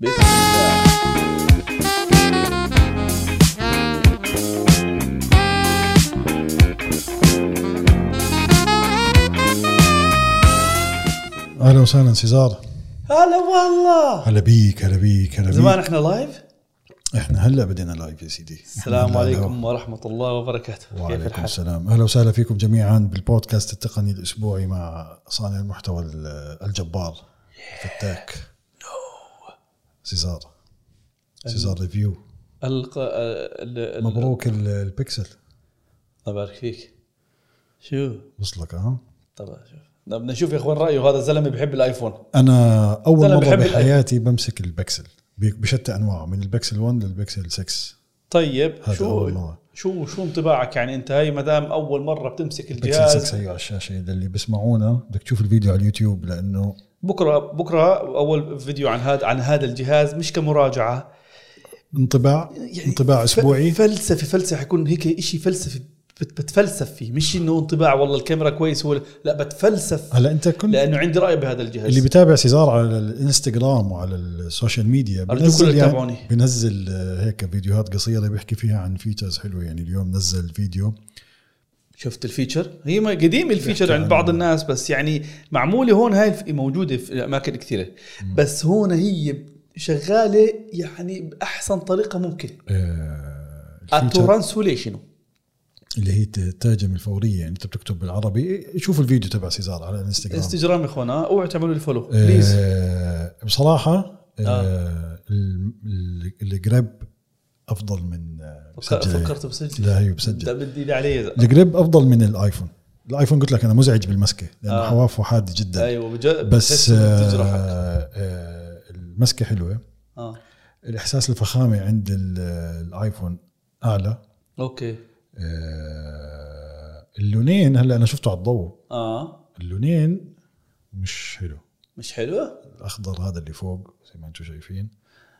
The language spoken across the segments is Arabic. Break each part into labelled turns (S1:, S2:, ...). S1: بسم الله
S2: اهلا وسهلا سيزار
S1: هلا والله
S2: هلا بيك هلا بيك هلا
S1: زمان
S2: بيك
S1: احنا لايف
S2: احنا هلا بدينا لايف يا سيدي
S1: السلام
S2: إحنا هلا
S1: عليكم ورحمه الله وبركاته كيف
S2: وعليكم
S1: الحال
S2: السلام اهلا وسهلا فيكم جميعا بالبودكاست التقني الاسبوعي مع صانع المحتوى ال- الجبار فتاك سيزار سيزار ريفيو
S1: الق... ال... ال...
S2: مبروك ال- البكسل
S1: الله يبارك فيك شو
S2: وصلك أه؟ ها
S1: طبعا شوف بدنا نشوف يا اخوان رايه هذا الزلمه بيحب الايفون
S2: انا اول
S1: أنا
S2: مره
S1: بحب الأي-
S2: بحياتي بمسك البكسل ب- بشتى انواعه من البكسل 1 للبكسل 6
S1: طيب
S2: هذا
S1: شو
S2: أول مرة.
S1: شو شو انطباعك يعني انت هاي ما دام اول مره بتمسك
S2: بكسل 6
S1: الجهاز
S2: هي على الشاشه اذا اللي بيسمعونا بدك تشوف الفيديو على اليوتيوب لانه
S1: بكره بكره اول فيديو عن هذا عن هذا الجهاز مش كمراجعه
S2: انطباع انطباع
S1: ف-
S2: اسبوعي
S1: فلسفي فلسفه حيكون هيك شيء فلسفي بت- بتفلسف فيه مش انه انطباع والله الكاميرا كويس ولا لا بتفلسف
S2: هلا انت كل
S1: لانه عندي راي بهذا الجهاز
S2: اللي بتابع سيزار على الانستغرام وعلى السوشيال ميديا يعني
S1: أرجوكم لا تتابعوني.
S2: بنزل آه، هيك فيديوهات قصيره بيحكي فيها عن فيتشرز حلوه يعني اليوم نزل فيديو
S1: شفت الفيتشر هي ما قديم الفيتشر
S2: بيحكي
S1: عند
S2: عن-
S1: بعض الناس بس يعني معموله هون هاي الف- موجوده في اماكن كثيره بس هون هي شغاله يعني باحسن طريقه ممكن
S2: آه، الفيتشر
S1: الترانسوليشن
S2: آه. اللي هي الترجمه الفوريه يعني انت بتكتب بالعربي شوف الفيديو تبع سيزار على الانستغرام
S1: انستجرام يا اخوان آه، اوعوا تعملوا لي فولو
S2: إيه.
S1: بليز
S2: آه، بصراحه آه، ال- ال- الجراب افضل من آه، بسجل.
S1: فكرت بسجل
S2: لا هي بسجل
S1: ده بدي لي عليه إذا-
S2: الجريب افضل من الايفون الايفون قلت لك انا مزعج بالمسكه لانه
S1: آه.
S2: آه. حوافه حاده جدا أيوة.
S1: ايوه بجد
S2: بس
S1: بتحس إنه بتجرحك.
S2: آه آه المسكه حلوه
S1: اه
S2: الاحساس الفخامه عند ال- الايفون اعلى
S1: اوكي
S2: آه اللونين هلا انا شفته على الضوء
S1: اه
S2: اللونين مش حلو
S1: مش حلو
S2: الاخضر هذا اللي فوق زي ما انتم شايفين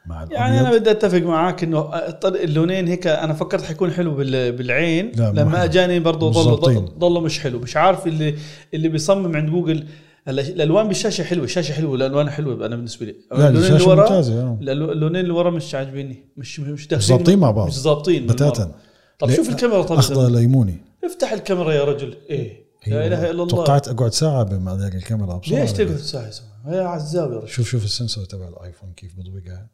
S2: مع الابيض
S1: يعني انا بدي اتفق معك انه الطريق اللونين هيك انا فكرت حيكون حلو بال- بالعين
S2: لا، ما
S1: لما
S2: حلو.
S1: اجاني برضه
S2: مش
S1: ضل
S2: ظابطين.
S1: ضل مش حلو مش عارف اللي اللي بيصمم عند جوجل هلا الالوان بالشاشه حلوه الشاشه حلوه الالوان حلوه انا بالنسبه لي
S2: لا
S1: اللونين
S2: الشاشه ممتازه آه.
S1: الألو- اللونين اللي ورا مش عاجبيني مش مش داخلين
S2: ظابطين مع بعض.
S1: مش ظابطين من بعض.
S2: بتاتا
S1: طب
S2: ليه؟
S1: شوف الكاميرا طب
S2: اخضر ليموني
S1: افتح الكاميرا يا رجل ايه لا اله الا الله
S2: أيوة. توقعت اقعد ساعه بما ذاك الكاميرا بصراحة
S1: ليش تقعد ساعه سوا؟ يا عزاوي يا رجل
S2: شوف شوف السنسور تبع الايفون كيف بضويقها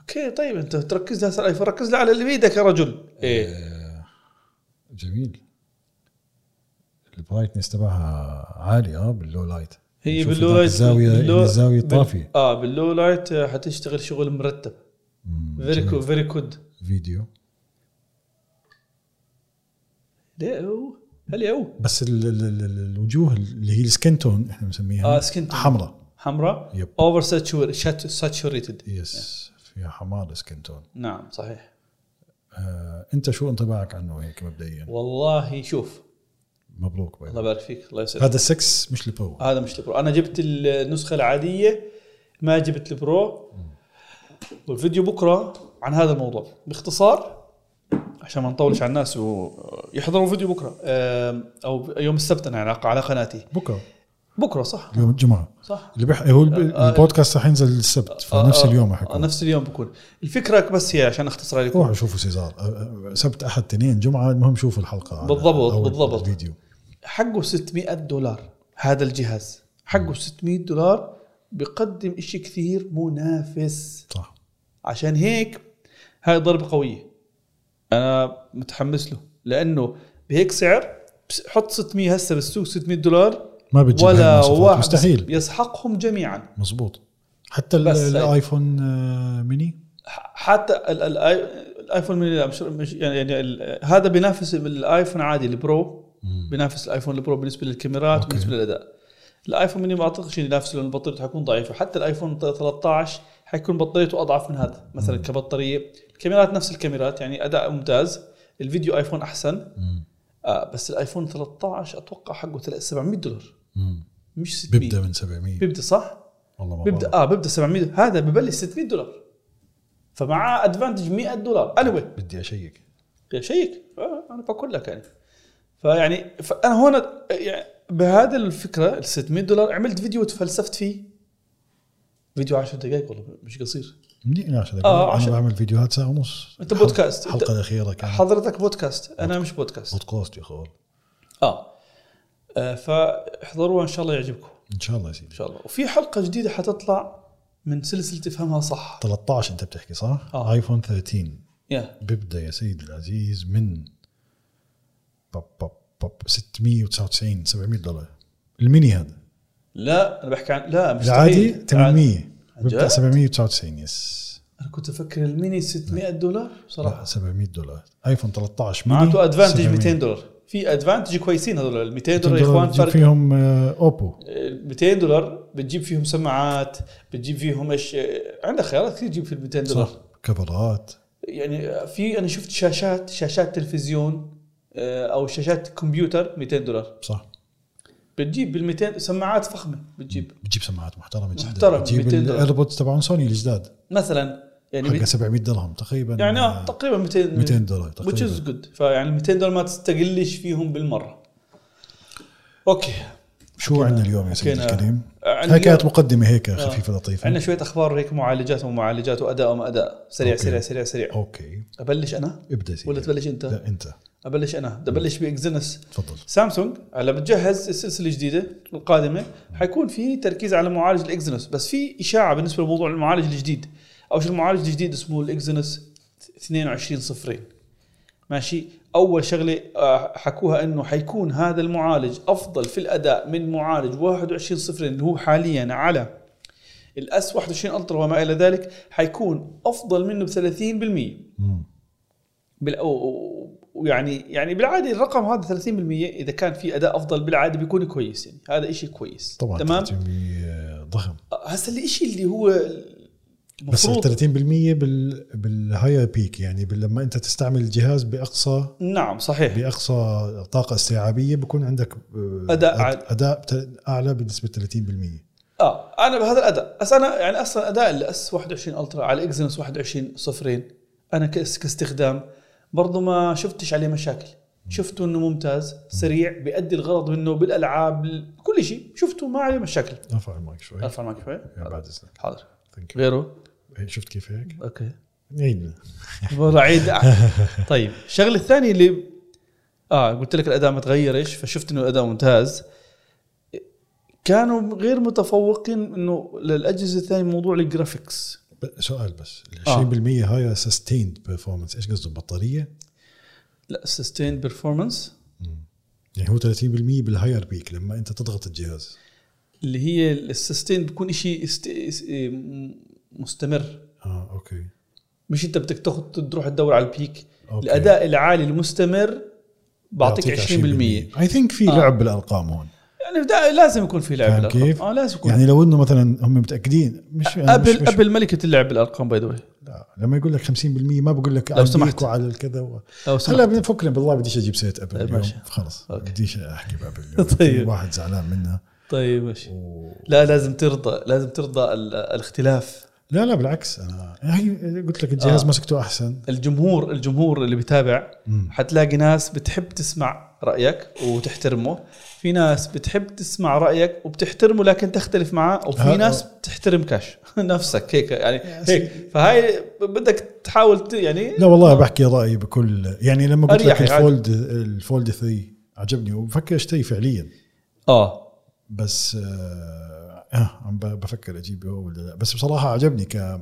S1: اوكي طيب انت تركز لها على الايفون ركز لها على اللي بيدك يا رجل ايه
S2: آه، جميل البرايتنس تبعها عالي اه باللو لايت
S1: هي
S2: شوف
S1: باللو
S2: ذاك
S1: لايت
S2: الزاويه
S1: باللو-
S2: الزاويه
S1: بال-
S2: الطافيه
S1: اه باللو لايت آه، حتشتغل شغل مرتب
S2: مم،
S1: فيري
S2: جميل.
S1: فيري كود
S2: فيديو
S1: ليو هليو
S2: بس ال ال ال ال- الوجوه اللي هي السكن تون احنا بنسميها
S1: اه سكنت
S2: حمراء
S1: حمراء
S2: يب
S1: اوفر ساتشوريتد
S2: يس فيها حمار سكن تون
S1: نعم صحيح
S2: آه، انت شو انطباعك عنه هيك مبدئيا
S1: والله شوف
S2: مبروك باي
S1: الله آه. يبارك فيك الله يسعدك
S2: هذا 6 مش البرو
S1: هذا مش البرو انا جبت النسخه العاديه ما جبت البرو والفيديو بكره عن هذا الموضوع باختصار عشان ما نطولش على الناس ويحضروا الفيديو بكره آم، او يوم السبت انا على على قناتي
S2: بكره
S1: بكره صح
S2: يوم الجمعه
S1: صح
S2: اللي بح... هو الب...
S1: آه، آه.
S2: البودكاست رح ينزل السبت فنفس
S1: آه، آه،
S2: اليوم
S1: آه،
S2: حيكون
S1: نفس اليوم بكون الفكره بس هي عشان اختصرها لكم
S2: روحوا شوفوا سيزار آه، آه، سبت احد تنين جمعه المهم شوفوا الحلقه على-
S1: بالضبط،
S2: أو
S1: بالضبط.
S2: الفيديو
S1: حقه 600 دولار هذا الجهاز حقه 600 دولار بقدم إشي كثير منافس
S2: صح
S1: عشان هيك هاي ضربة قوية أنا متحمس له لأنه بهيك سعر بس- حط 600 هسه بالسوق 600 دولار
S2: ما بتجيب
S1: ولا
S2: هالمواصفات،
S1: واحد
S2: مستحيل
S1: يسحقهم جميعا
S2: مزبوط حتى ال-
S1: بس يعني هاي.
S2: الايفون آه، ميني
S1: ح- حتى ال- ال- الآي- الايفون من لا، مش مش- يعني يعني ال- هذا بينافس الايفون عادي البرو بينافس الايفون البرو بالنسبه للكاميرات
S2: أوكي.
S1: وبالنسبه للاداء الايفون مني ما اعتقدش إنه ينافسه لان بطاريته حتكون ضعيفه حتى الايفون 13 حيكون بطاريته اضعف من هذا مثلا كبطاريه الكاميرات نفس الكاميرات يعني اداء ممتاز الفيديو ايفون احسن
S2: مم.
S1: آه بس الايفون 13 اتوقع حقه تل- 700 دولار
S2: مم.
S1: مش 600
S2: بيبدا من 700
S1: بيبدا صح؟
S2: والله ما
S1: بيبدا
S2: بيبدا
S1: اه بيبدا 700 هذا ببلش 600 دولار فمعاه ادفانتج 100 دولار anyway
S2: بدي اشيك
S1: شيك آه انا بقول لك يعني فيعني فانا هون يعني بهذا الفكره ال 600 دولار عملت فيديو تفلسفت فيه فيديو 10 دقائق والله مش قصير
S2: مديني 10
S1: آه،
S2: دقائق انا
S1: عشان-
S2: بعمل فيديوهات ساعه ونص
S1: أنت بودكاست.
S2: الحلقه الاخيره كانت
S1: حضرتك بودكاست انا مش بودكاست
S2: بودكاست يا اخوان
S1: اه, آه فاحضروها ان شاء الله يعجبكم
S2: ان شاء الله يا
S1: ان
S2: سيدي
S1: شاء الله وفي حلقه جديده حتطلع من سلسله تفهمها صح
S2: 13 انت بتحكي صح؟
S1: آه.
S2: ايفون 13
S1: يا
S2: بيبدا يا سيدي العزيز من بب بب بب 699 700 دولار الميني هذا
S1: لا انا بحكي عن لا مستحيل
S2: العادي
S1: عادي.
S2: 800
S1: عن
S2: بيبدا
S1: جد؟
S2: 799 يس
S1: انا كنت افكر الميني 600 دولار صراحه
S2: لا 700 دولار ايفون 13 ميني
S1: معناته ادفانتج
S2: 700.
S1: 200 دولار في ادفانتج كويسين هذول ال 200
S2: 200
S1: دولار يا اخوان
S2: بتجيب
S1: فرق
S2: فيهم آه، اوبو
S1: ال 200 دولار بتجيب فيهم سماعات بتجيب فيهم ايش آه، عندك خيارات كثير تجيب في ال 200 دولار
S2: صح كفرات
S1: يعني في انا شفت شاشات شاشات تلفزيون آه، او شاشات كمبيوتر 200 دولار
S2: صح
S1: بتجيب بال 200 سماعات فخمه بتجيب
S2: بتجيب سماعات محترمه جدا
S1: محترمة،
S2: بتجيب
S1: 200 دولار.
S2: الايربودز تبعون سوني الجداد
S1: مثلا يعني
S2: حقها
S1: بت-
S2: 700 درهم تقريبا
S1: يعني
S2: آه،
S1: اه تقريبا 200
S2: 200 دولار
S1: which is
S2: تقريبا
S1: good فيعني 200 دولار ما تستقلش فيهم بالمره اوكي
S2: شو عندنا اليوم يا سيدي
S1: حكينا-
S2: الكريم؟
S1: عندنا
S2: هاي
S1: يعني
S2: كانت
S1: اليوم- آه.
S2: مقدمه هيك خفيفه لطيفه
S1: عندنا شويه اخبار هيك معالجات ومعالجات واداء وما اداء سريع
S2: أوكي.
S1: سريع سريع سريع
S2: اوكي
S1: ابلش انا
S2: ابدا يا سيدي
S1: ولا تبلش انت
S2: لا انت
S1: ابلش انا بدي ابلش باكزينس
S2: تفضل
S1: سامسونج هلا بتجهز السلسله الجديده القادمه حيكون في تركيز على معالج الاكزينوس بس في اشاعه بالنسبه لموضوع المعالج الجديد او شو المعالج الجديد اسمه الاكزينوس 22 ماشي اول شغله آه، حكوها انه حيكون هذا المعالج افضل في الاداء من معالج 21 صفر اللي هو حاليا على الاس 21 الترا وما الى ذلك حيكون افضل منه ب 30%
S2: مم.
S1: بال- و- و- ويعني يعني بالعاده الرقم هذا 30% اذا كان في اداء افضل بالعاده بيكون كويس يعني هذا إشي كويس
S2: طبعا
S1: تمام
S2: 30% آه، ضخم
S1: هسا الإشي اللي هو
S2: بس ال
S1: المفروض
S2: 30% بال بالهاير بيك يعني بال- لما انت تستعمل الجهاز باقصى
S1: نعم صحيح
S2: باقصى طاقه استيعابيه بكون عندك آه،
S1: أداء
S2: أد-
S1: عال.
S2: اداء بت- اعلى بنسبه 30%
S1: اه انا بهذا الاداء بس انا يعني اصلا اداء الاس 21 الترا على اكزينوس 21 صفرين انا كاس- كاستخدام برضو ما شفتش عليه مشاكل شفته انه ممتاز سريع بيأدي الغرض منه بالالعاب كل شيء شفته ما عليه مشاكل
S2: ارفع المايك شوي
S1: ارفع معك شوي
S2: طيب. يا بعد اذنك
S1: حاضر
S2: ثانك يو
S1: غيره
S2: شفت كيف هيك؟
S1: اوكي
S2: عيدنا
S1: والله عيد طيب الشغله الثانيه اللي اه قلت لك الاداء ما تغيرش فشفت انه الاداء ممتاز كانوا غير متفوقين انه للاجهزه الثانيه موضوع الجرافيكس
S2: ب- سؤال بس ال 20%
S1: آه.
S2: هاي سستيند بيرفورمانس ايش قصده البطاريه؟
S1: لا سستين بيرفورمانس
S2: يعني هو 30% بالهاير بيك لما انت تضغط الجهاز
S1: اللي هي السستين بيكون شيء است... است... إيه، مستمر
S2: اه اوكي
S1: مش انت بدك تاخذ تروح تدور على البيك
S2: أوكي.
S1: الاداء العالي المستمر بعطيك آه. 20%,
S2: اي ثينك في لعب بالارقام هون
S1: يعني دا- لازم يكون في لعب
S2: فاهم
S1: بالأرقام.
S2: كيف؟
S1: اه لازم يكون
S2: يعني لو انه مثلا هم متاكدين مش أنا مش-
S1: ابل
S2: مش-
S1: ابل ملكه اللعب بالارقام باي ذا
S2: لا، لما يقول لك 50% ما بقول لك
S1: لو سمحت.
S2: على الكذا و...
S1: لو
S2: هلا
S1: سمحت
S2: بنفكر بالله بديش اجيب سيره ابل
S1: طيب،
S2: اليوم
S1: ماشي.
S2: خلص
S1: أوكي.
S2: بديش احكي بابل اليوم
S1: طيب.
S2: في واحد زعلان منها
S1: طيب ماشي
S2: و...
S1: لا لازم ترضى لازم ترضى ال- الاختلاف
S2: لا لا بالعكس انا هي قلت لك الجهاز
S1: آه.
S2: مسكته احسن
S1: الجمهور الجمهور اللي بيتابع
S2: مم.
S1: حتلاقي ناس بتحب تسمع رايك وتحترمه في ناس بتحب تسمع رايك وبتحترمه لكن تختلف معاه وفي
S2: ها-
S1: ناس بتحترم كاش نفسك هيك يعني
S2: يا
S1: هيك فهاي بدك تحاول ت- يعني
S2: لا والله بحكي رايي بكل يعني لما قلت لك
S1: أريح يعني.
S2: الفولد الفولد 3 عجبني وبفكر اشتري فعليا
S1: اه
S2: بس آه آه، عم ب- بفكر اجيبه ولا لا بس بصراحه عجبني ك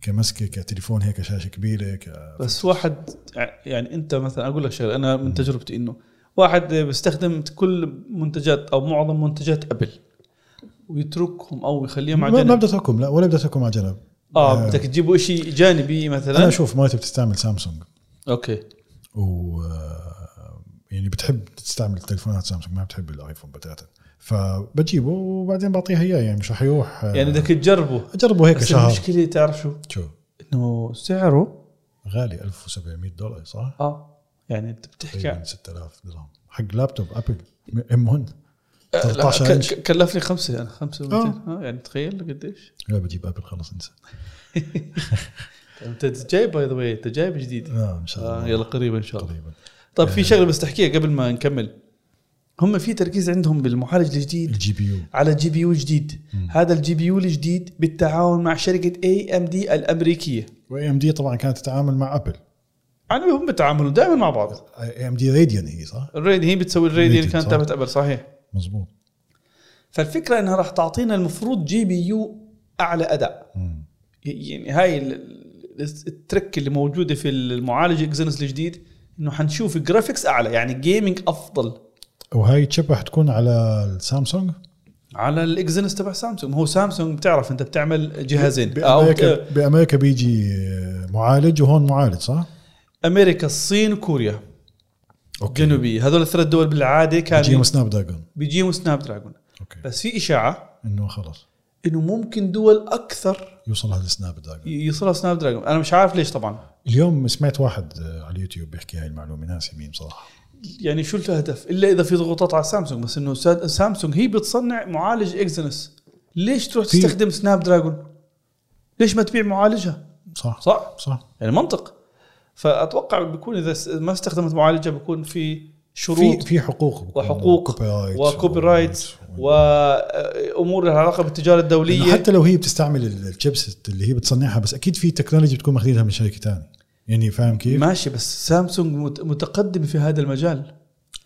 S2: كمسكه كتليفون هيك شاشه كبيره ك
S1: بس واحد يعني انت مثلا اقول لك شغله انا من تجربتي انه واحد بيستخدم كل منتجات او معظم منتجات ابل ويتركهم او يخليهم
S2: ما
S1: على
S2: ما آه.
S1: جنب
S2: بدي اتركهم لا ولا بدي اتركهم على جنب
S1: اه بدك تجيبوا شيء جانبي مثلا
S2: انا اشوف مرتي بتستعمل سامسونج
S1: اوكي
S2: و آه، يعني بتحب تستعمل تليفونات سامسونج ما بتحب الايفون بتاتا فبجيبه وبعدين بعطيها اياه يعني مش رح يروح آه،
S1: يعني بدك تجربه
S2: اجربه هيك
S1: بس
S2: شهر
S1: المشكله تعرف شو
S2: شو
S1: انه سعره
S2: غالي 1700 دولار صح؟
S1: اه يعني انت بتحكي
S2: تقريبا
S1: عن-
S2: 6000 درهم حق لابتوب ابل ام 1
S1: آه، لا،
S2: 13
S1: ك-
S2: انش
S1: ك- كلفني خمسه انا خمسه
S2: آه.
S1: يعني ومئتين. اه يعني تخيل قديش
S2: لا بجيب ابل خلص انسى
S1: انت جايب باي ذا واي انت جايب جديد
S2: اه ان شاء
S1: آه
S2: الله
S1: يلا قريبا ان شاء الله
S2: قريبا
S1: طيب في شغله بس تحكيها قبل ما نكمل هم في تركيز عندهم بالمعالج الجديد
S2: الجي بي يو
S1: على جي بي يو جديد هذا الجي بي يو الجديد بالتعاون مع شركه اي ام دي الامريكيه
S2: واي ام دي طبعا كانت تتعامل مع ابل
S1: يعني هم بيتعاملوا دائما مع بعض
S2: اي ام دي راديان هي صح؟
S1: الريد هي بتسوي الريد اللي
S2: راديان،
S1: كانت
S2: صح.
S1: تابعت ابل صحيح
S2: مزبوط
S1: فالفكره انها راح تعطينا المفروض جي بي يو اعلى اداء
S2: مم.
S1: يعني هاي ال- ال- الترك اللي موجوده في المعالج اكزينس الجديد انه حنشوف جرافيكس اعلى يعني جيمنج افضل
S2: وهاي الشيب راح تكون على السامسونج
S1: على الاكزينس تبع سامسونج هو سامسونج بتعرف انت بتعمل جهازين او
S2: بامريكا بامريكا بيجي معالج وهون معالج صح؟
S1: امريكا الصين وكوريا جنوبي هذول الثلاث دول بالعاده
S2: بيجيهم
S1: كانوا
S2: سناب دراجون
S1: بيجيهم سناب دراجون
S2: اوكي
S1: بس في اشاعه
S2: انه خلص
S1: انه ممكن دول اكثر
S2: يوصلها للسناب دراجون
S1: ي- يوصلها سناب دراجون انا مش عارف ليش طبعا
S2: اليوم سمعت واحد آه، على اليوتيوب بيحكي هاي المعلومه ناسي مين صراحه
S1: يعني شو الهدف الا اذا في ضغوطات على سامسونج بس انه سا- سامسونج هي بتصنع معالج اكزينس ليش تروح
S2: في-
S1: تستخدم سناب دراجون ليش ما تبيع معالجها
S2: صح
S1: صح
S2: صح
S1: يعني منطق فاتوقع بيكون اذا س- ما استخدمت معالجها بيكون في
S2: في
S1: شروط
S2: في حقوق
S1: وحقوق وكوبي رايتس وامور لها علاقه بالتجاره
S2: لأنه
S1: الدوليه
S2: حتى لو هي بتستعمل ال- الشيبس اللي هي بتصنعها بس اكيد في تكنولوجي بتكون ماخذينها من شركه ثانيه يعني فاهم كيف؟
S1: ماشي بس سامسونج مت- متقدمه في هذا المجال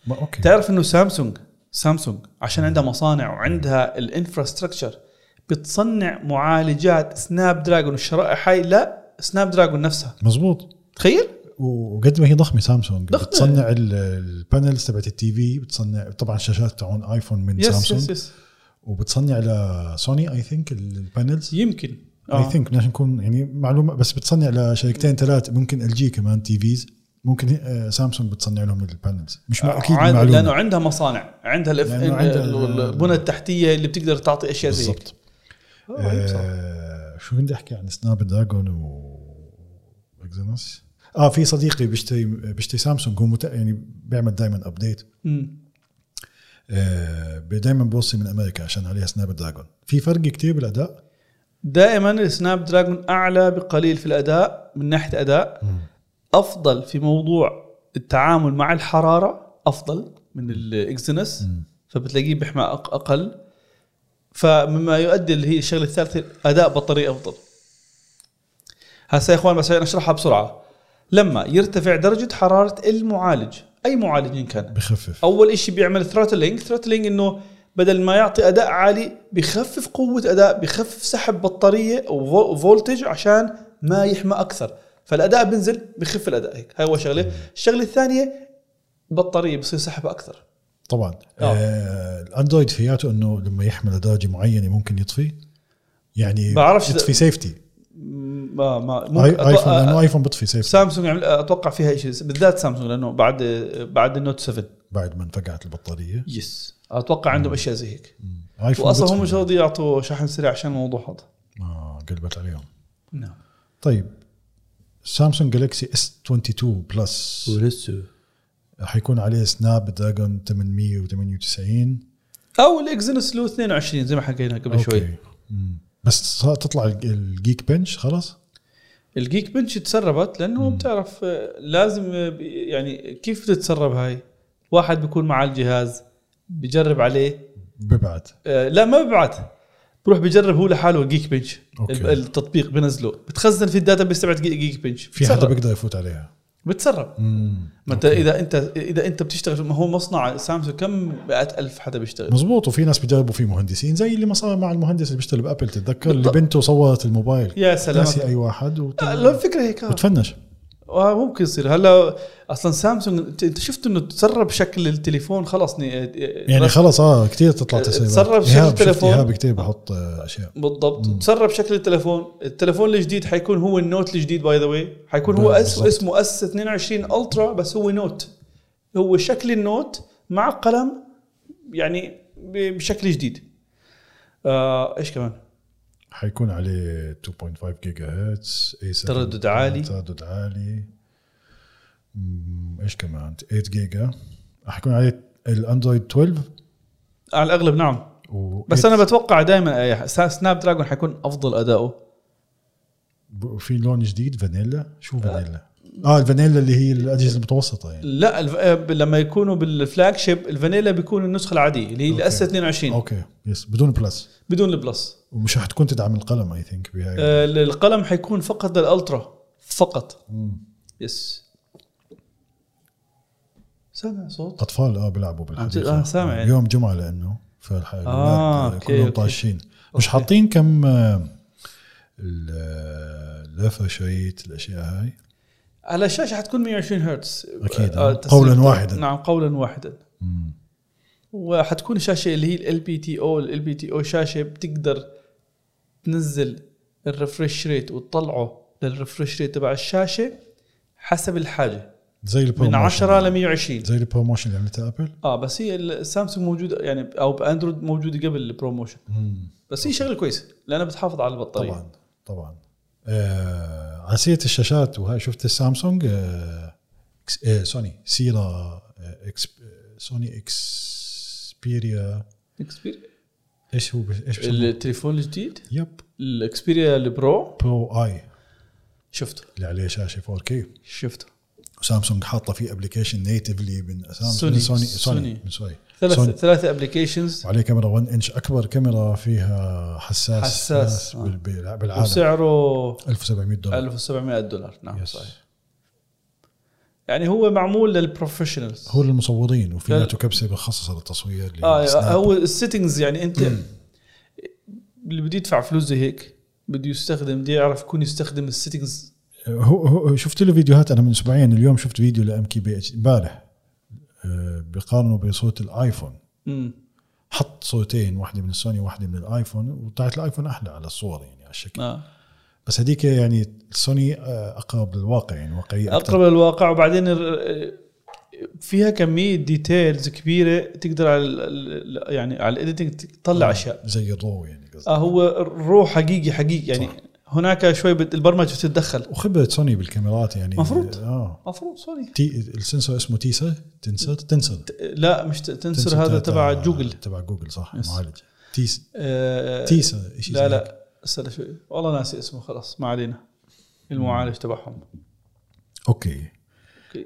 S2: ما اوكي
S1: تعرف انه سامسونج سامسونج عشان عندها مصانع وعندها الانفراستراكشر بتصنع معالجات سناب دراجون الشرائح هاي لا سناب دراجون نفسها
S2: مزبوط
S1: تخيل
S2: وقد ما هي ضخمه سامسونج
S1: ضخمة.
S2: بتصنع ال- البانلز تبعت التي في بتصنع طبعا الشاشات تاعون ايفون من
S1: يس
S2: سامسونج
S1: يس يس
S2: وبتصنع لسوني اي ثينك البانلز
S1: يمكن
S2: اي
S1: آه.
S2: ثينك بدناش نكون يعني معلومه بس بتصنع لشركتين ثلاث ممكن ال جي كمان تي فيز ممكن آه، سامسونج بتصنع لهم البانلز مش مع اكيد
S1: آه، عاد-
S2: المعلومه
S1: لانه عندها مصانع عندها الف...
S2: لأنه عندها-
S1: البنى التحتيه اللي بتقدر تعطي اشياء زي هيك
S2: بالضبط آه شو كنت احكي عن سناب دراجون و اكزينوس اه في صديقي بيشتري بيشتري سامسونج هو مت... يعني بيعمل دائما ابديت
S1: مم.
S2: آه دائما بوصي من امريكا عشان عليها سناب دراجون في فرق كتير بالاداء
S1: دائما السناب دراجون اعلى بقليل في الاداء من ناحيه اداء افضل في موضوع التعامل مع الحراره افضل من الاكزينس فبتلاقيه بيحمى أق- اقل فمما يؤدي اللي هي الشغله الثالثه اداء بطاريه افضل هسا يا اخوان بس عشان اشرحها بسرعه لما يرتفع درجه حراره المعالج اي معالج إن كان
S2: بخفف
S1: اول شيء بيعمل ثروتلينج ثروتلينج انه بدل ما يعطي اداء عالي بخفف قوه اداء بخفف سحب بطاريه او فو- فولتج عشان ما يحمى اكثر فالاداء بينزل بخف الاداء هيك هاي اول شغله الشغله الثانيه بطاريه بصير سحبها اكثر
S2: طبعا
S1: آه.
S2: آه الاندرويد فياته انه لما يحمل لدرجه معينه ممكن يطفي يعني
S1: بعرفش
S2: يطفي سيفتي
S1: ما ما ممكن
S2: ايفون
S1: أتوقع آه،
S2: لانه ايفون بيطفي سيفتي
S1: سامسونج عمل- اتوقع فيها شيء بالذات سامسونج لانه بعد بعد النوت 7
S2: بعد ما انفقعت البطاريه
S1: يس اتوقع عندهم اشياء زي هيك
S2: ايفون
S1: واصلا هم
S2: بيطفي.
S1: مش راضي يعطوا شحن سريع عشان الموضوع هذا
S2: اه قلبت عليهم
S1: نعم
S2: طيب سامسونج جالكسي اس 22 بلس
S1: ولسه
S2: حيكون عليه سناب دراجون 898
S1: او الاكزينس لو 22 زي ما حكينا قبل أوكي. شوي
S2: أوكي. مم. بس صار تطلع الج- الجيك بنش خلاص
S1: الجيك بنش تسربت لانه بتعرف آه، لازم آه، بي- يعني كيف بتتسرب هاي واحد بيكون معاه الجهاز بجرب عليه
S2: ببعد
S1: آه، لا ما ببعت بروح بجرب هو لحاله الجيك بنش
S2: أوكي.
S1: الب- التطبيق بنزله بتخزن في الداتا بيس تبعت جي- جيك بنش
S2: في حدا
S1: بتسرب.
S2: بيقدر يفوت عليها
S1: بتسرب
S2: مم.
S1: ما انت اذا انت اذا انت بتشتغل ما هو مصنع سامسونج كم مئات الف حدا بيشتغل
S2: مزبوط وفي ناس بيجربوا فيه مهندسين زي اللي ما صار مع المهندس اللي بيشتغل بابل تتذكر اللي
S1: بالضبط.
S2: بنته صورت الموبايل
S1: يا سلام
S2: ناسي اي واحد وت-
S1: آه، لو الفكره هيك آه.
S2: وتفنش
S1: آه ممكن يصير هلا اصلا سامسونج انت أنت شفت انه تسرب شكل التليفون خلاص ني... اه،
S2: يعني خلص اه كثير تطلع
S1: آه،
S2: تسريبات
S1: تسرب شكل
S2: إيهاب، شفت
S1: التليفون.
S2: ايهاب كثير بحط آه، اشياء
S1: بالضبط تسرب شكل التليفون التليفون الجديد حيكون هو النوت الجديد باي ذا واي حيكون هو أس...
S2: بالضبط.
S1: اسمه اس 22 الترا بس هو نوت هو شكل النوت مع قلم يعني ب- بشكل جديد آه ايش كمان
S2: حيكون عليه 2.5 جيجا هرتز اي 7
S1: تردد عالي.
S2: تردد عالي مم، ايش كمان 8 جيجا حيكون عليه الاندرويد 12
S1: على الاغلب نعم
S2: و
S1: بس انا بتوقع آه، دائما سناب دراجون حيكون افضل اداؤه آه.
S2: ب... في لون جديد فانيلا شو فانيلا اه الفانيلا اللي هي الاجهزه المتوسطه يعني
S1: لا الف... آه، لما يكونوا بالفلاج شيب الفانيلا بيكون النسخه العاديه اللي هي
S2: أوكي.
S1: الاس 22
S2: اوكي يس بدون بلس
S1: بدون البلس
S2: ومش راح تكون تدعم القلم اي ثينك بهاي
S1: آه، القلم حيكون فقط الالترا فقط يس سامع صوت
S2: اطفال اه بيلعبوا بالحديقه
S1: آه، سامع.
S2: يوم جمعه لانه فالحقيقه
S1: آه،
S2: الأولاد
S1: أوكي،
S2: كلهم
S1: أوكي.
S2: طاشين مش حاطين كم آه، ال- آه، اللافاشيت الاشياء هاي
S1: على الشاشه حتكون 120 هرتز
S2: أكيد،
S1: آه،
S2: آه.
S1: تسليك-
S2: قولاً واحدا.
S1: نعم قولا واحدا وحتكون الشاشه اللي هي ال بي تي او ال بي تي او شاشه بتقدر تنزل الريفرش ريت وتطلعه للريفرش ريت تبع الشاشه حسب الحاجه
S2: زي البرو
S1: من
S2: موشن.
S1: 10 ل 120
S2: زي يعني البروموشن اللي عملتها ابل
S1: اه بس هي السامسونج موجوده يعني او باندرويد موجوده قبل البروموشن بس هي شغله كويسه لانها بتحافظ على البطاريه
S2: طبعا طبعا آه على سيره الشاشات وهاي شفت السامسونج آه إكس- آه سوني سيرا آه إكس آه، سوني اكسبيريا
S1: Xperia.
S2: ايش هو بس- ايش بسموه؟
S1: التليفون الجديد
S2: يب
S1: الاكسبيريا البرو
S2: برو اي
S1: شفته
S2: اللي عليه شاشه 4K
S1: شفته
S2: وسامسونج حاطه فيه ابلكيشن نيتفلي من سامسونج
S1: سوني.
S2: من سوني
S1: سوني.
S2: سوني من سوني
S1: ثلاث
S2: سوني.
S1: ثلاثه ابلكيشنز
S2: وعليه كاميرا 1 انش اكبر كاميرا فيها حساس آه.
S1: حساس،
S2: بال- بال- بالعالم
S1: وسعره
S2: 1700 دولار
S1: 1700 دولار نعم
S2: يس.
S1: صحيح يعني هو معمول للبروفيشنالز
S2: هو للمصورين
S1: لا.
S2: وفياته كبسه مخصصه للتصوير اللي
S1: اه
S2: سناب.
S1: هو السيتنجز يعني انت اللي بده يدفع فلوس زي هيك بده يستخدم بده يعرف يكون يستخدم السيتنجز
S2: هو هو شفت له فيديوهات انا من اسبوعين اليوم شفت فيديو لام كي بي اتش امبارح آه، بيقارنوا بصوت الايفون
S1: امم
S2: حط صوتين واحده من السوني واحده من الايفون وطلعت الايفون احلى على الصور يعني على الشكل
S1: آه.
S2: بس هذيك يعني السوني آه، اقرب للواقع يعني واقعيه أكثر.
S1: اقرب للواقع وبعدين ال- فيها كميه ديتيلز كبيره تقدر على ال- ال- يعني على الايديتنج تطلع اشياء
S2: آه، زي الرو يعني قصدي
S1: آه هو الرو حقيقي حقيقي يعني صح. هناك شوي بت- البرمجه بتتدخل
S2: وخبره سوني بالكاميرات يعني
S1: مفروض.
S2: اه
S1: مفروض سوري
S2: تي السنسور اسمه تيسا تنسر تنسر
S1: ت- لا مش ت- تنسر هذا تبع جوجل
S2: تبع جوجل صح
S1: يس.
S2: معالج تيس
S1: آه
S2: تيسا شيء
S1: لا لا استنى شوي والله ناسي اسمه خلاص ما علينا المعالج تبعهم
S2: اوكي
S1: أوكي.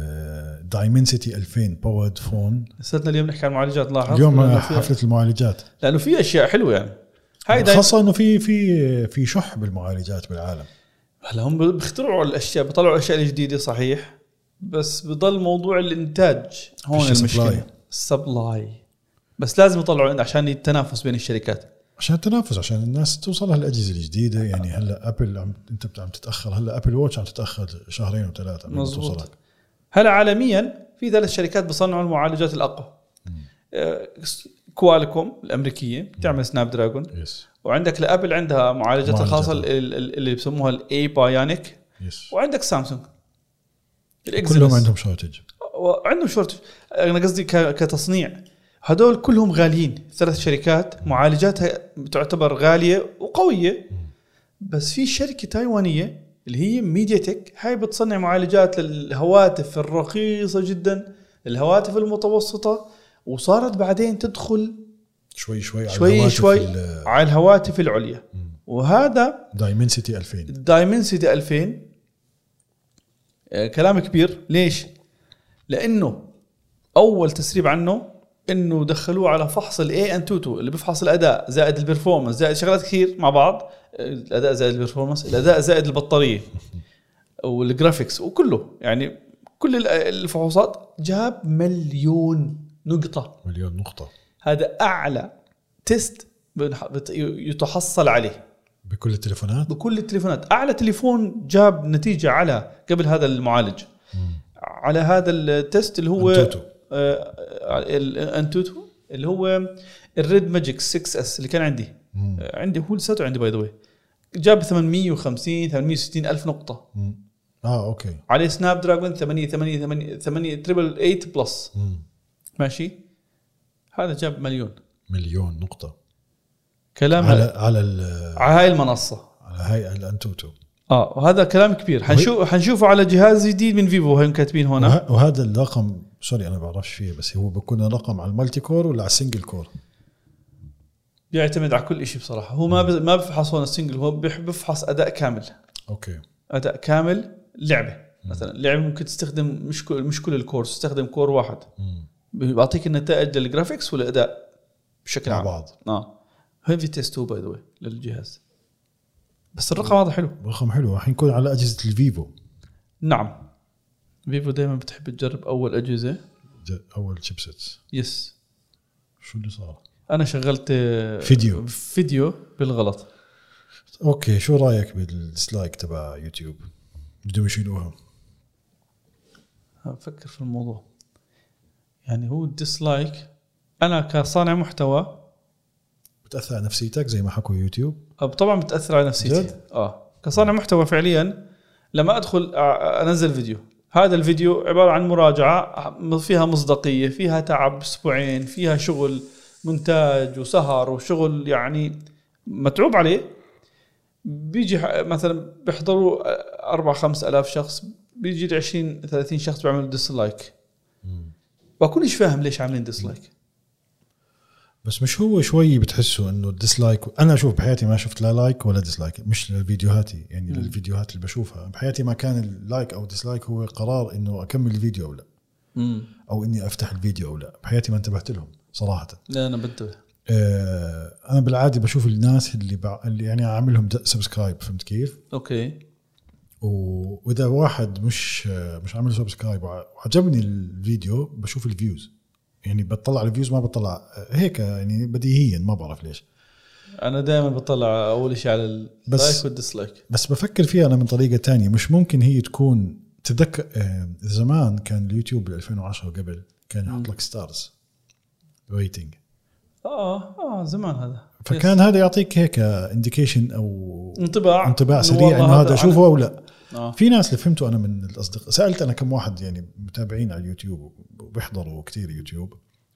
S2: آه، دايمنسيتي 2000 باورد فون
S1: لساتنا اليوم نحكي عن معالجات لاحظ
S2: اليوم
S1: لأنه في-
S2: حفله المعالجات
S1: لانه في اشياء حلوه يعني هاي دايما
S2: خاصه انه في في في شح بالمعالجات بالعالم
S1: هلا هم بيخترعوا الاشياء بيطلعوا الاشياء الجديده صحيح بس بضل موضوع الانتاج هون
S2: فيش
S1: المشكله
S2: supply.
S1: السبلاي بس لازم يطلعوا عشان التنافس بين الشركات
S2: عشان التنافس عشان الناس توصلها الاجهزه الجديده يعني هلا ابل عم انت عم تتاخر هلا ابل ووتش عم تتاخر شهرين وثلاثه قبل ما
S1: مظبوط.
S2: توصلك
S1: هلا عالميا في ثلاث شركات بصنعوا المعالجات الاقوى آه، كوالكوم الامريكيه بتعمل سناب دراجون
S2: يس
S1: وعندك لابل عندها معالجات
S2: معالجات.
S1: الخاصه ال- ال- اللي بسموها الاي بايونيك
S2: يس
S1: وعندك سامسونج
S2: كلهم
S1: الإكسيلس.
S2: عندهم شورتج
S1: وعندهم شورت انا قصدي ك- كتصنيع هدول كلهم غاليين ثلاث شركات معالجاتها تعتبر غاليه وقويه بس في شركه تايوانيه اللي هي ميديا تك هاي بتصنع معالجات للهواتف الرخيصه جدا الهواتف المتوسطه وصارت بعدين تدخل
S2: شوي شوي
S1: شوي شوي على الهواتف العليا وهذا
S2: دايمنسيتي 2000
S1: دايمنسيتي 2000 آه، كلام كبير ليش؟ لانه اول تسريب عنه انه دخلوه على فحص الاي ان توتو اللي بيفحص الاداء زائد البرفورمانس زائد شغلات كثير مع بعض آه، الاداء زائد البرفورمانس الاداء زائد البطاريه والجرافيكس وكله يعني كل ال- الفحوصات جاب مليون نقطه
S2: مليون نقطه
S1: هذا اعلى تيست بنح- بت- يتحصل عليه
S2: بكل التليفونات
S1: بكل التليفونات اعلى تليفون جاب نتيجه على قبل هذا المعالج على هذا التست اللي هو
S2: أنتوتو.
S1: آه، آه، ال- انتوتو اللي هو الريد ماجيك 6 اس اللي كان عندي آه، عندي هو لساته عندي باي ذا واي جاب 850 860 الف نقطه
S2: مم. اه اوكي
S1: عليه سناب دراجون 8 8 8 8 تريبل 8 بلس
S2: مم.
S1: ماشي هذا جاب مليون
S2: مليون نقطه
S1: كلام
S2: على
S1: على,
S2: على ال-
S1: على هاي المنصه
S2: على هاي الانتوتو
S1: اه وهذا كلام كبير حنشوف حنشوفه على جهاز جديد من فيفو هم كاتبين هنا
S2: وه- وهذا الرقم سوري انا بعرفش فيه بس هو بيكون رقم على المالتي كور ولا على السنجل كور
S1: بيعتمد على كل شيء بصراحه هو ما بز- ما بفحص هون السنجل هو بيح- بفحص اداء كامل
S2: اوكي
S1: اداء كامل لعبه مثلا لعبه ممكن تستخدم مش كل مش كل الكورس تستخدم كور واحد بيعطيك النتائج للجرافيكس والاداء بشكل
S2: مع
S1: عام
S2: بعض.
S1: اه هيفي تيست 2 باي ذا للجهاز بس الرقم هذا حلو
S2: رقم حلو راح يكون على اجهزه الفيفو
S1: نعم فيفو دائما بتحب تجرب اول اجهزه
S2: ج- اول شيبسيتس
S1: يس
S2: شو اللي صار؟
S1: انا شغلت آه،
S2: فيديو.
S1: فيديو بالغلط
S2: اوكي شو رايك بالسلايك تبع يوتيوب؟ بدهم يشيلوها
S1: افكر في الموضوع يعني هو الديسلايك انا كصانع محتوى
S2: بتاثر على نفسيتك زي ما حكوا يوتيوب
S1: أب- طبعا بتاثر على نفسيتي
S2: جد؟
S1: اه كصانع محتوى فعليا لما ادخل أ- انزل فيديو هذا الفيديو عباره عن مراجعه فيها مصداقيه فيها تعب اسبوعين فيها شغل مونتاج وسهر وشغل يعني متعوب عليه بيجي ح- مثلا بيحضروا أربع خمس ألاف شخص بيجي لي 20 30 شخص بيعملوا ديسلايك بكونش فاهم ليش عاملين ديسلايك
S2: بس مش هو شوي بتحسه انه الديسلايك انا شوف بحياتي ما شفت لا لايك ولا ديسلايك مش لفيديوهاتي يعني للفيديوهات اللي بشوفها بحياتي ما كان اللايك او الديسلايك هو قرار انه اكمل الفيديو او لا او اني افتح الفيديو او لا بحياتي ما انتبهت لهم صراحه
S1: لا انا بنتبه
S2: آه، انا بالعاده بشوف الناس اللي بع... اللي يعني عاملهم سبسكرايب فهمت كيف؟
S1: اوكي
S2: و- واذا واحد مش آه، مش عامل سبسكرايب وع- وعجبني الفيديو بشوف الفيوز يعني بطلع على الفيوز ما بطلع آه، هيك يعني بديهيا ما بعرف ليش
S1: انا دائما بطلع اول شيء على اللايك
S2: بس-
S1: والديسلايك
S2: بس بفكر فيها انا من طريقه تانية مش ممكن هي تكون تذكر آه، زمان كان اليوتيوب بال 2010 وقبل كان يحط لك ستارز ريتنج
S1: اه اه زمان هذا
S2: فكان آه، هذا يعطيك هيك انديكيشن او
S1: يس. انطباع
S2: انطباع
S1: إنه
S2: سريع
S1: والله
S2: انه هذا
S1: أنا-
S2: اشوفه او لا
S1: آه.
S2: في ناس اللي فهمته انا من الاصدقاء سالت انا كم واحد يعني متابعين على اليوتيوب وبيحضروا كثير يوتيوب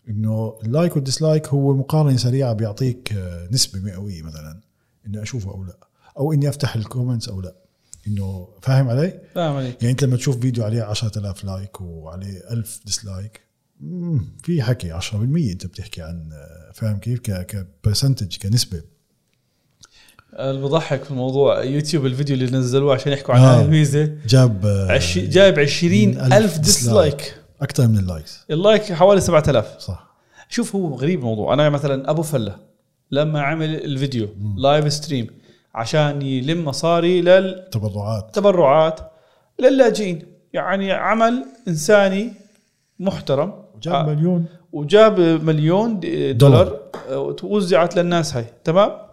S2: انه اللايك والديسلايك هو مقارنه سريعه بيعطيك آه، نسبه مئويه مثلا اني اشوفه او لا او اني افتح الكومنتس او لا انه فاهم علي؟
S1: فاهم عليك
S2: يعني انت لما تشوف فيديو عليه 10000 لايك وعليه 1000 ديسلايك مم، في حكي 10% انت بتحكي عن آه، فاهم كيف كبرسنتج كنسبه
S1: اللي بضحك في الموضوع يوتيوب الفيديو اللي نزلوه عشان يحكوا عن
S2: آه.
S1: هاي الميزه
S2: جاب آه،
S1: عش... جايب 20 ألف ديسلايك
S2: اكثر من اللايكس
S1: اللايك حوالي 7000
S2: صح
S1: شوف هو غريب الموضوع انا مثلا ابو فله لما عمل الفيديو لايف ستريم عشان يلم مصاري لل
S2: تبرعات
S1: تبرعات للاجئين يعني عمل انساني محترم
S2: جاب مليون
S1: وجاب مليون دي- دولار آه،
S2: دولار.
S1: ووزعت للناس هاي تمام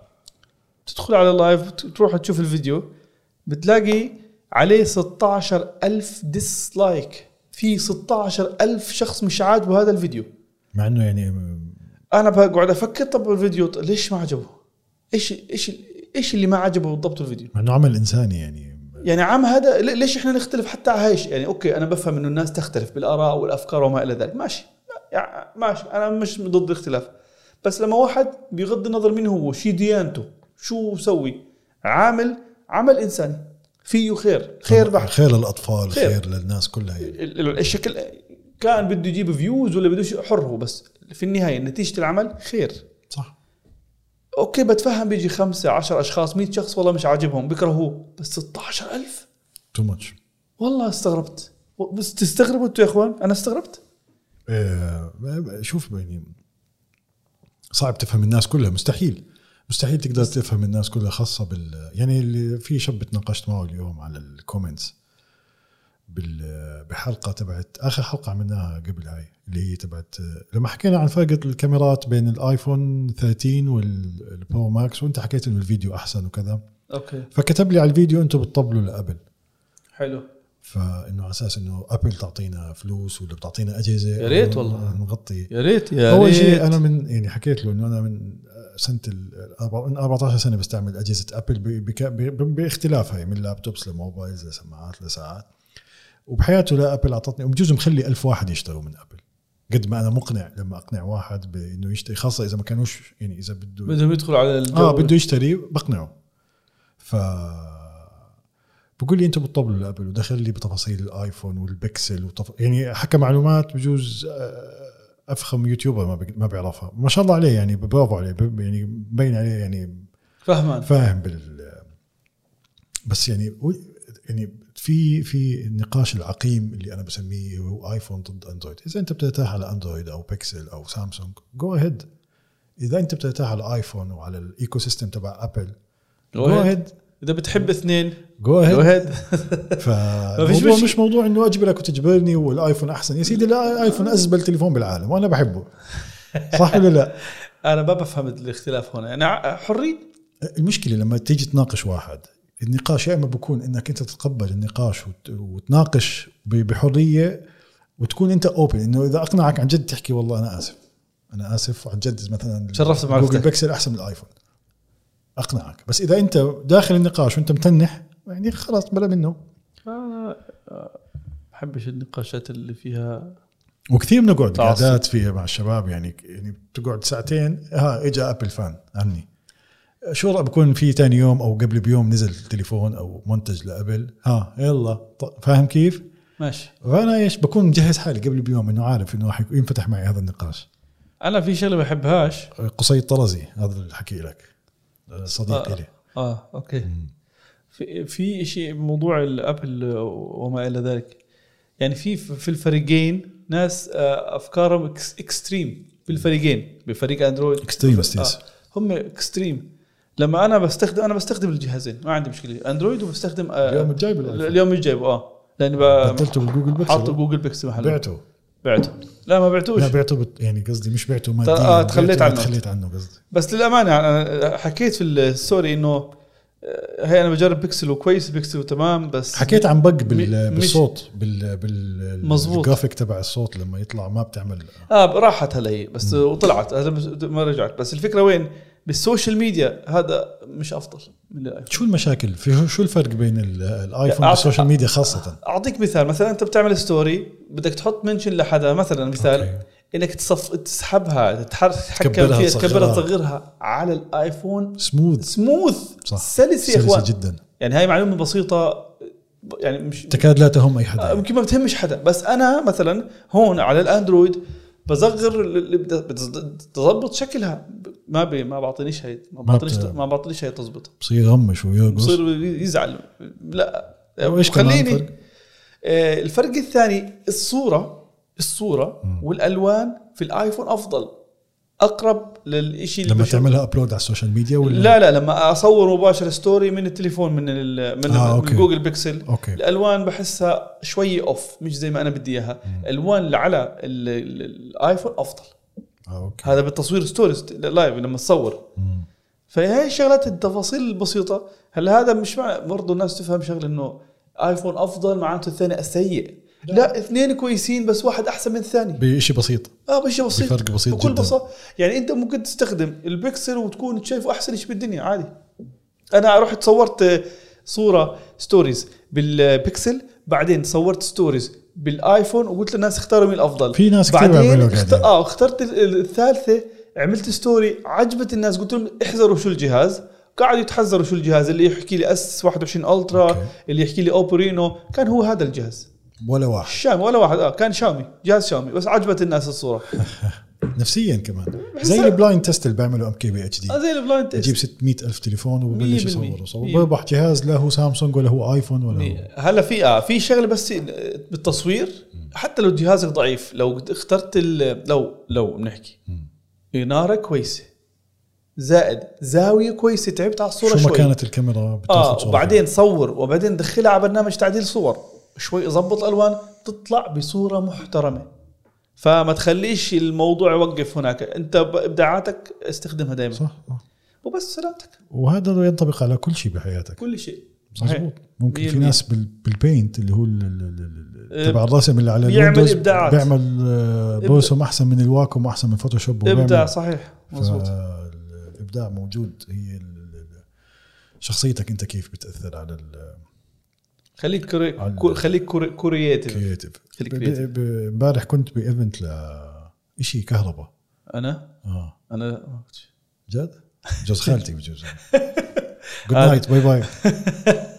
S1: تدخل على اللايف تروح تشوف الفيديو بتلاقي عليه 16 ألف ديسلايك في 16 ألف شخص مش عاجبه هذا الفيديو
S2: مع انه يعني م-
S1: انا بقعد افكر طب الفيديو طب ليش ما عجبه ايش ايش ايش اللي ما عجبه بالضبط الفيديو
S2: مع انه عمل انساني يعني
S1: يعني عام هذا لي- ليش احنا نختلف حتى على هايش يعني اوكي انا بفهم انه الناس تختلف بالاراء والافكار وما الى ذلك ماشي يعني ماشي انا مش ضد الاختلاف بس لما واحد بغض النظر مين هو شي ديانته شو سوي عامل عمل انساني فيه خير
S2: آه.
S1: خير بحت
S2: خير للاطفال
S1: خير.
S2: خير, للناس كلها يعني
S1: ال- ال- الشكل كان بده يجيب فيوز ولا بده شيء، حر هو بس في النهايه نتيجه العمل خير
S2: صح
S1: اوكي بتفهم بيجي خمسة عشر اشخاص 100 شخص والله مش عاجبهم بكرهوه بس 16000 ألف
S2: تو ماتش
S1: والله استغربت بس تستغربوا انتوا يا اخوان انا استغربت
S2: شوف يعني صعب تفهم الناس كلها مستحيل مستحيل تقدر تفهم الناس كلها خاصه بال يعني اللي في شاب تناقشت معه اليوم على الكومنتس بال بحلقه تبعت اخر حلقه عملناها قبل هاي اللي هي تبعت لما حكينا عن فرق الكاميرات بين الايفون 13 والبرو ماكس وانت حكيت انه الفيديو احسن وكذا
S1: اوكي
S2: فكتب لي على الفيديو انتم بتطبلوا لابل
S1: حلو
S2: فانه على اساس انه ابل تعطينا فلوس ولا بتعطينا اجهزه
S1: يا ريت والله.
S2: نغطي
S1: يا ريت يا
S2: اول
S1: ريت
S2: شيء انا من يعني حكيت له انه انا من سنه ال 14 سنه بستعمل اجهزه ابل ب- بك- ب- باختلافها من لابتوبس لموبايلز لسماعات لساعات وبحياته لا ابل اعطتني وبجوز مخلي ألف واحد يشتروا من ابل قد ما انا مقنع لما اقنع واحد بانه يشتري خاصه اذا ما كانوش يعني اذا بده
S1: آه، بدهم يدخلوا على الجو
S2: اه بده يشتري بقنعه ف بقول لي انت بتطبلوا لابل ودخل لي بتفاصيل الايفون والبكسل وتف... يعني حكى معلومات بجوز آه، افخم يوتيوبر ما, بي... ما بيعرفها ما شاء الله عليه يعني برافو عليه ب... يعني مبين عليه يعني
S1: فهمان
S2: فاهم بال بس يعني و- يعني في في النقاش العقيم اللي انا بسميه هو ايفون ضد اندرويد، اذا انت بترتاح على اندرويد او بيكسل او سامسونج جو اهيد اذا انت بترتاح على ايفون وعلى الايكو سيستم تبع ابل جو اهيد
S1: اذا بتحب اثنين
S2: جو
S1: جو
S2: اهيد
S1: هيد فيش
S2: فالموضوع
S1: مشكلة.
S2: مش موضوع انه اجبرك وتجبرني والايفون احسن يا سيدي لا، الايفون ازبل تليفون بالعالم وانا بحبه صح ولا لا؟
S1: انا ما بفهم الاختلاف هنا يعني ع- حرين
S2: المشكله لما تيجي تناقش واحد النقاش يا اما بكون انك انت تتقبل النقاش وت- وتناقش ب- بحريه وتكون انت اوبن انه اذا اقنعك عن جد تحكي والله انا اسف انا اسف عن جد مثلا
S1: تشرفت
S2: جوجل
S1: بمعرفتك.
S2: بيكسل احسن من الايفون اقنعك بس اذا انت داخل النقاش وانت متنح يعني خلاص بلا منه
S1: انا آه، بحبش النقاشات اللي فيها
S2: وكثير بنقعد
S1: تعصب.
S2: قعدات فيها مع الشباب يعني يعني بتقعد ساعتين ها اجى ابل فان عني شو رأي بكون في ثاني يوم او قبل بيوم نزل تليفون او منتج لابل ها يلا ط- فاهم كيف؟
S1: ماشي
S2: فانا ايش بكون مجهز حالي قبل بيوم انه عارف انه راح ينفتح معي هذا النقاش
S1: انا في شغله ما بحبهاش
S2: قصي الطرزي هذا اللي حكي لك صديق
S1: آه.
S2: لي
S1: اه اوكي في في شيء موضوع الابل وما الى ذلك يعني في في الفريقين ناس آه، افكارهم إكس اكستريم في الفريقين بفريق اندرويد
S2: Extremists.
S1: آه، هم اكستريم لما انا بستخدم انا بستخدم الجهازين ما عندي مشكله اندرويد وبستخدم آه،
S2: اليوم الجاي بالآيفون.
S1: اليوم الجاي اه لاني ب-
S2: بدلته بالجوجل بيكسل.
S1: حاطه جوجل بيكسل محله
S2: بعته
S1: بعته لا ما بعتوش
S2: لا بعته بت- يعني قصدي مش بعته ماديا
S1: آه، تخليت
S2: بعته-
S1: عنه.
S2: تخليت عنه قصدي
S1: بس للامانه انا حكيت في الستوري انه آه، هي انا بجرب بيكسل وكويس بيكسل وتمام بس
S2: حكيت عن بق بال-
S1: مش-
S2: بالصوت بال بال
S1: مظبوط.
S2: الجرافيك تبع الصوت لما يطلع ما بتعمل
S1: اه راحت هلا هي بس وطلعت هلا بس- ما رجعت بس الفكره وين بالسوشيال ميديا هذا مش افضل من الايفون
S2: شو المشاكل في شو الفرق بين ال- الايفون
S1: لا،
S2: والسوشيال ميديا خاصه
S1: اعطيك مثال مثلا انت بتعمل ستوري بدك تحط منشن لحدا مثلا مثال
S2: أوكي.
S1: أوكي. انك تصف تسحبها تتحر- تتحكم
S2: تكبرها،
S1: فيها
S2: تصغرها.
S1: تكبرها تصغرها على الايفون
S2: سموث
S1: سموث
S2: صح
S1: سلس يا اخوان
S2: سلسه جدا
S1: يعني هاي معلومه بسيطه يعني مش
S2: تكاد لا تهم اي حدا
S1: آه، يمكن ما بتهمش حدا بس انا مثلا هون على الاندرويد بصغر اللي بدها- بتز- بتظبط شكلها ب- ما بي ما بعطينيش هي ما بعطينيش
S2: بت-
S1: ما بعطينيش هي تظبط
S2: بصير يغمش ويرقص
S1: بصير يزعل لا
S2: وإيش كمان
S1: خليني
S2: الفرق؟
S1: آه، الفرق الثاني الصوره الصوره والالوان في الايفون افضل اقرب للشيء اللي
S2: لما
S1: بشوفه.
S2: تعملها ابلود على السوشيال ميديا ولا
S1: لا لا لما اصور مباشره ستوري من التليفون من ال من,
S2: آه،
S1: آه
S2: أوكي.
S1: من جوجل بيكسل
S2: أوكي.
S1: الالوان بحسها شوي اوف مش زي ما انا بدي اياها الالوان اللي على ال- ال- الايفون افضل
S2: آه اوكي
S1: هذا بالتصوير ستوريز لايف لما تصور
S2: مم.
S1: فهي الشغلات التفاصيل البسيطه هلا هذا مش مع برضه الناس تفهم شغله انه ايفون افضل معناته الثاني سيء لا. لا اثنين كويسين بس واحد احسن من الثاني
S2: بشيء بسيط
S1: اه بشيء بسيط
S2: بفرق بسيط
S1: بكل
S2: جداً.
S1: بساطه يعني انت ممكن تستخدم البكسل وتكون شايفه احسن شيء بالدنيا عادي انا رحت صورت آه، صوره ستوريز بالبكسل بعدين صورت ستوريز بالايفون وقلت للناس اختاروا مين الافضل
S2: في ناس كتير
S1: بعدين
S2: بيعملوا
S1: اخت...
S2: قاعدين.
S1: اه اخترت ال- ال- الثالثه عملت ستوري عجبت الناس قلت لهم احذروا شو الجهاز قاعدوا يتحذروا شو الجهاز اللي يحكي لي اس 21 الترا
S2: أوكي.
S1: اللي يحكي لي اوبرينو كان هو هذا الجهاز
S2: ولا واحد
S1: شامي ولا واحد اه كان شامي جهاز شامي بس عجبت الناس الصوره
S2: نفسيا كمان زي البلايند تيست اللي بيعملوا ام كي بي اتش دي
S1: آه، زي البلايند تيست
S2: يجيب 600 الف تليفون وببلش
S1: مية بالمية.
S2: يصور يصور بيربح جهاز لا هو سامسونج ولا هو ايفون ولا هو
S1: هلا في اه في شغله بس بالتصوير حتى لو جهازك ضعيف لو اخترت ال- لو لو بنحكي اناره كويسه زائد زاويه كويسه تعبت على الصوره
S2: شو ما
S1: شوي
S2: كانت الكاميرا بتاخذ
S1: اه
S2: صورة
S1: وبعدين صور وبعدين دخلها على برنامج تعديل صور شوي ظبط الالوان تطلع بصوره محترمه فما تخليش الموضوع يوقف هناك انت ابداعاتك استخدمها دائما
S2: صح آه.
S1: وبس سلامتك
S2: وهذا ينطبق على كل شيء بحياتك
S1: كل شيء
S2: مظبوط ممكن
S1: 100%.
S2: في ناس بال- بالبينت اللي هو ال- ال- ال- ال-
S1: يعني إب-
S2: تبع الرسم اللي على
S1: بيعمل
S2: الويندوز
S1: إبداعات.
S2: بيعمل آه،
S1: إبداع.
S2: برسم احسن من الواكم واحسن من فوتوشوب وبيعمل-
S1: ابداع صحيح مزبوط
S2: فالابداع موجود هي ال- ال- شخصيتك انت كيف بتاثر على
S1: خليك كوري...
S2: على-
S1: كو- خليك كوري... كورياتيف
S2: الكرييتيف
S1: خليك creative.
S2: امبارح كنت بايفنت ل شيء كهرباء
S1: انا
S2: اه
S1: انا
S2: جد؟ جوز خالتي بجوز جود نايت باي باي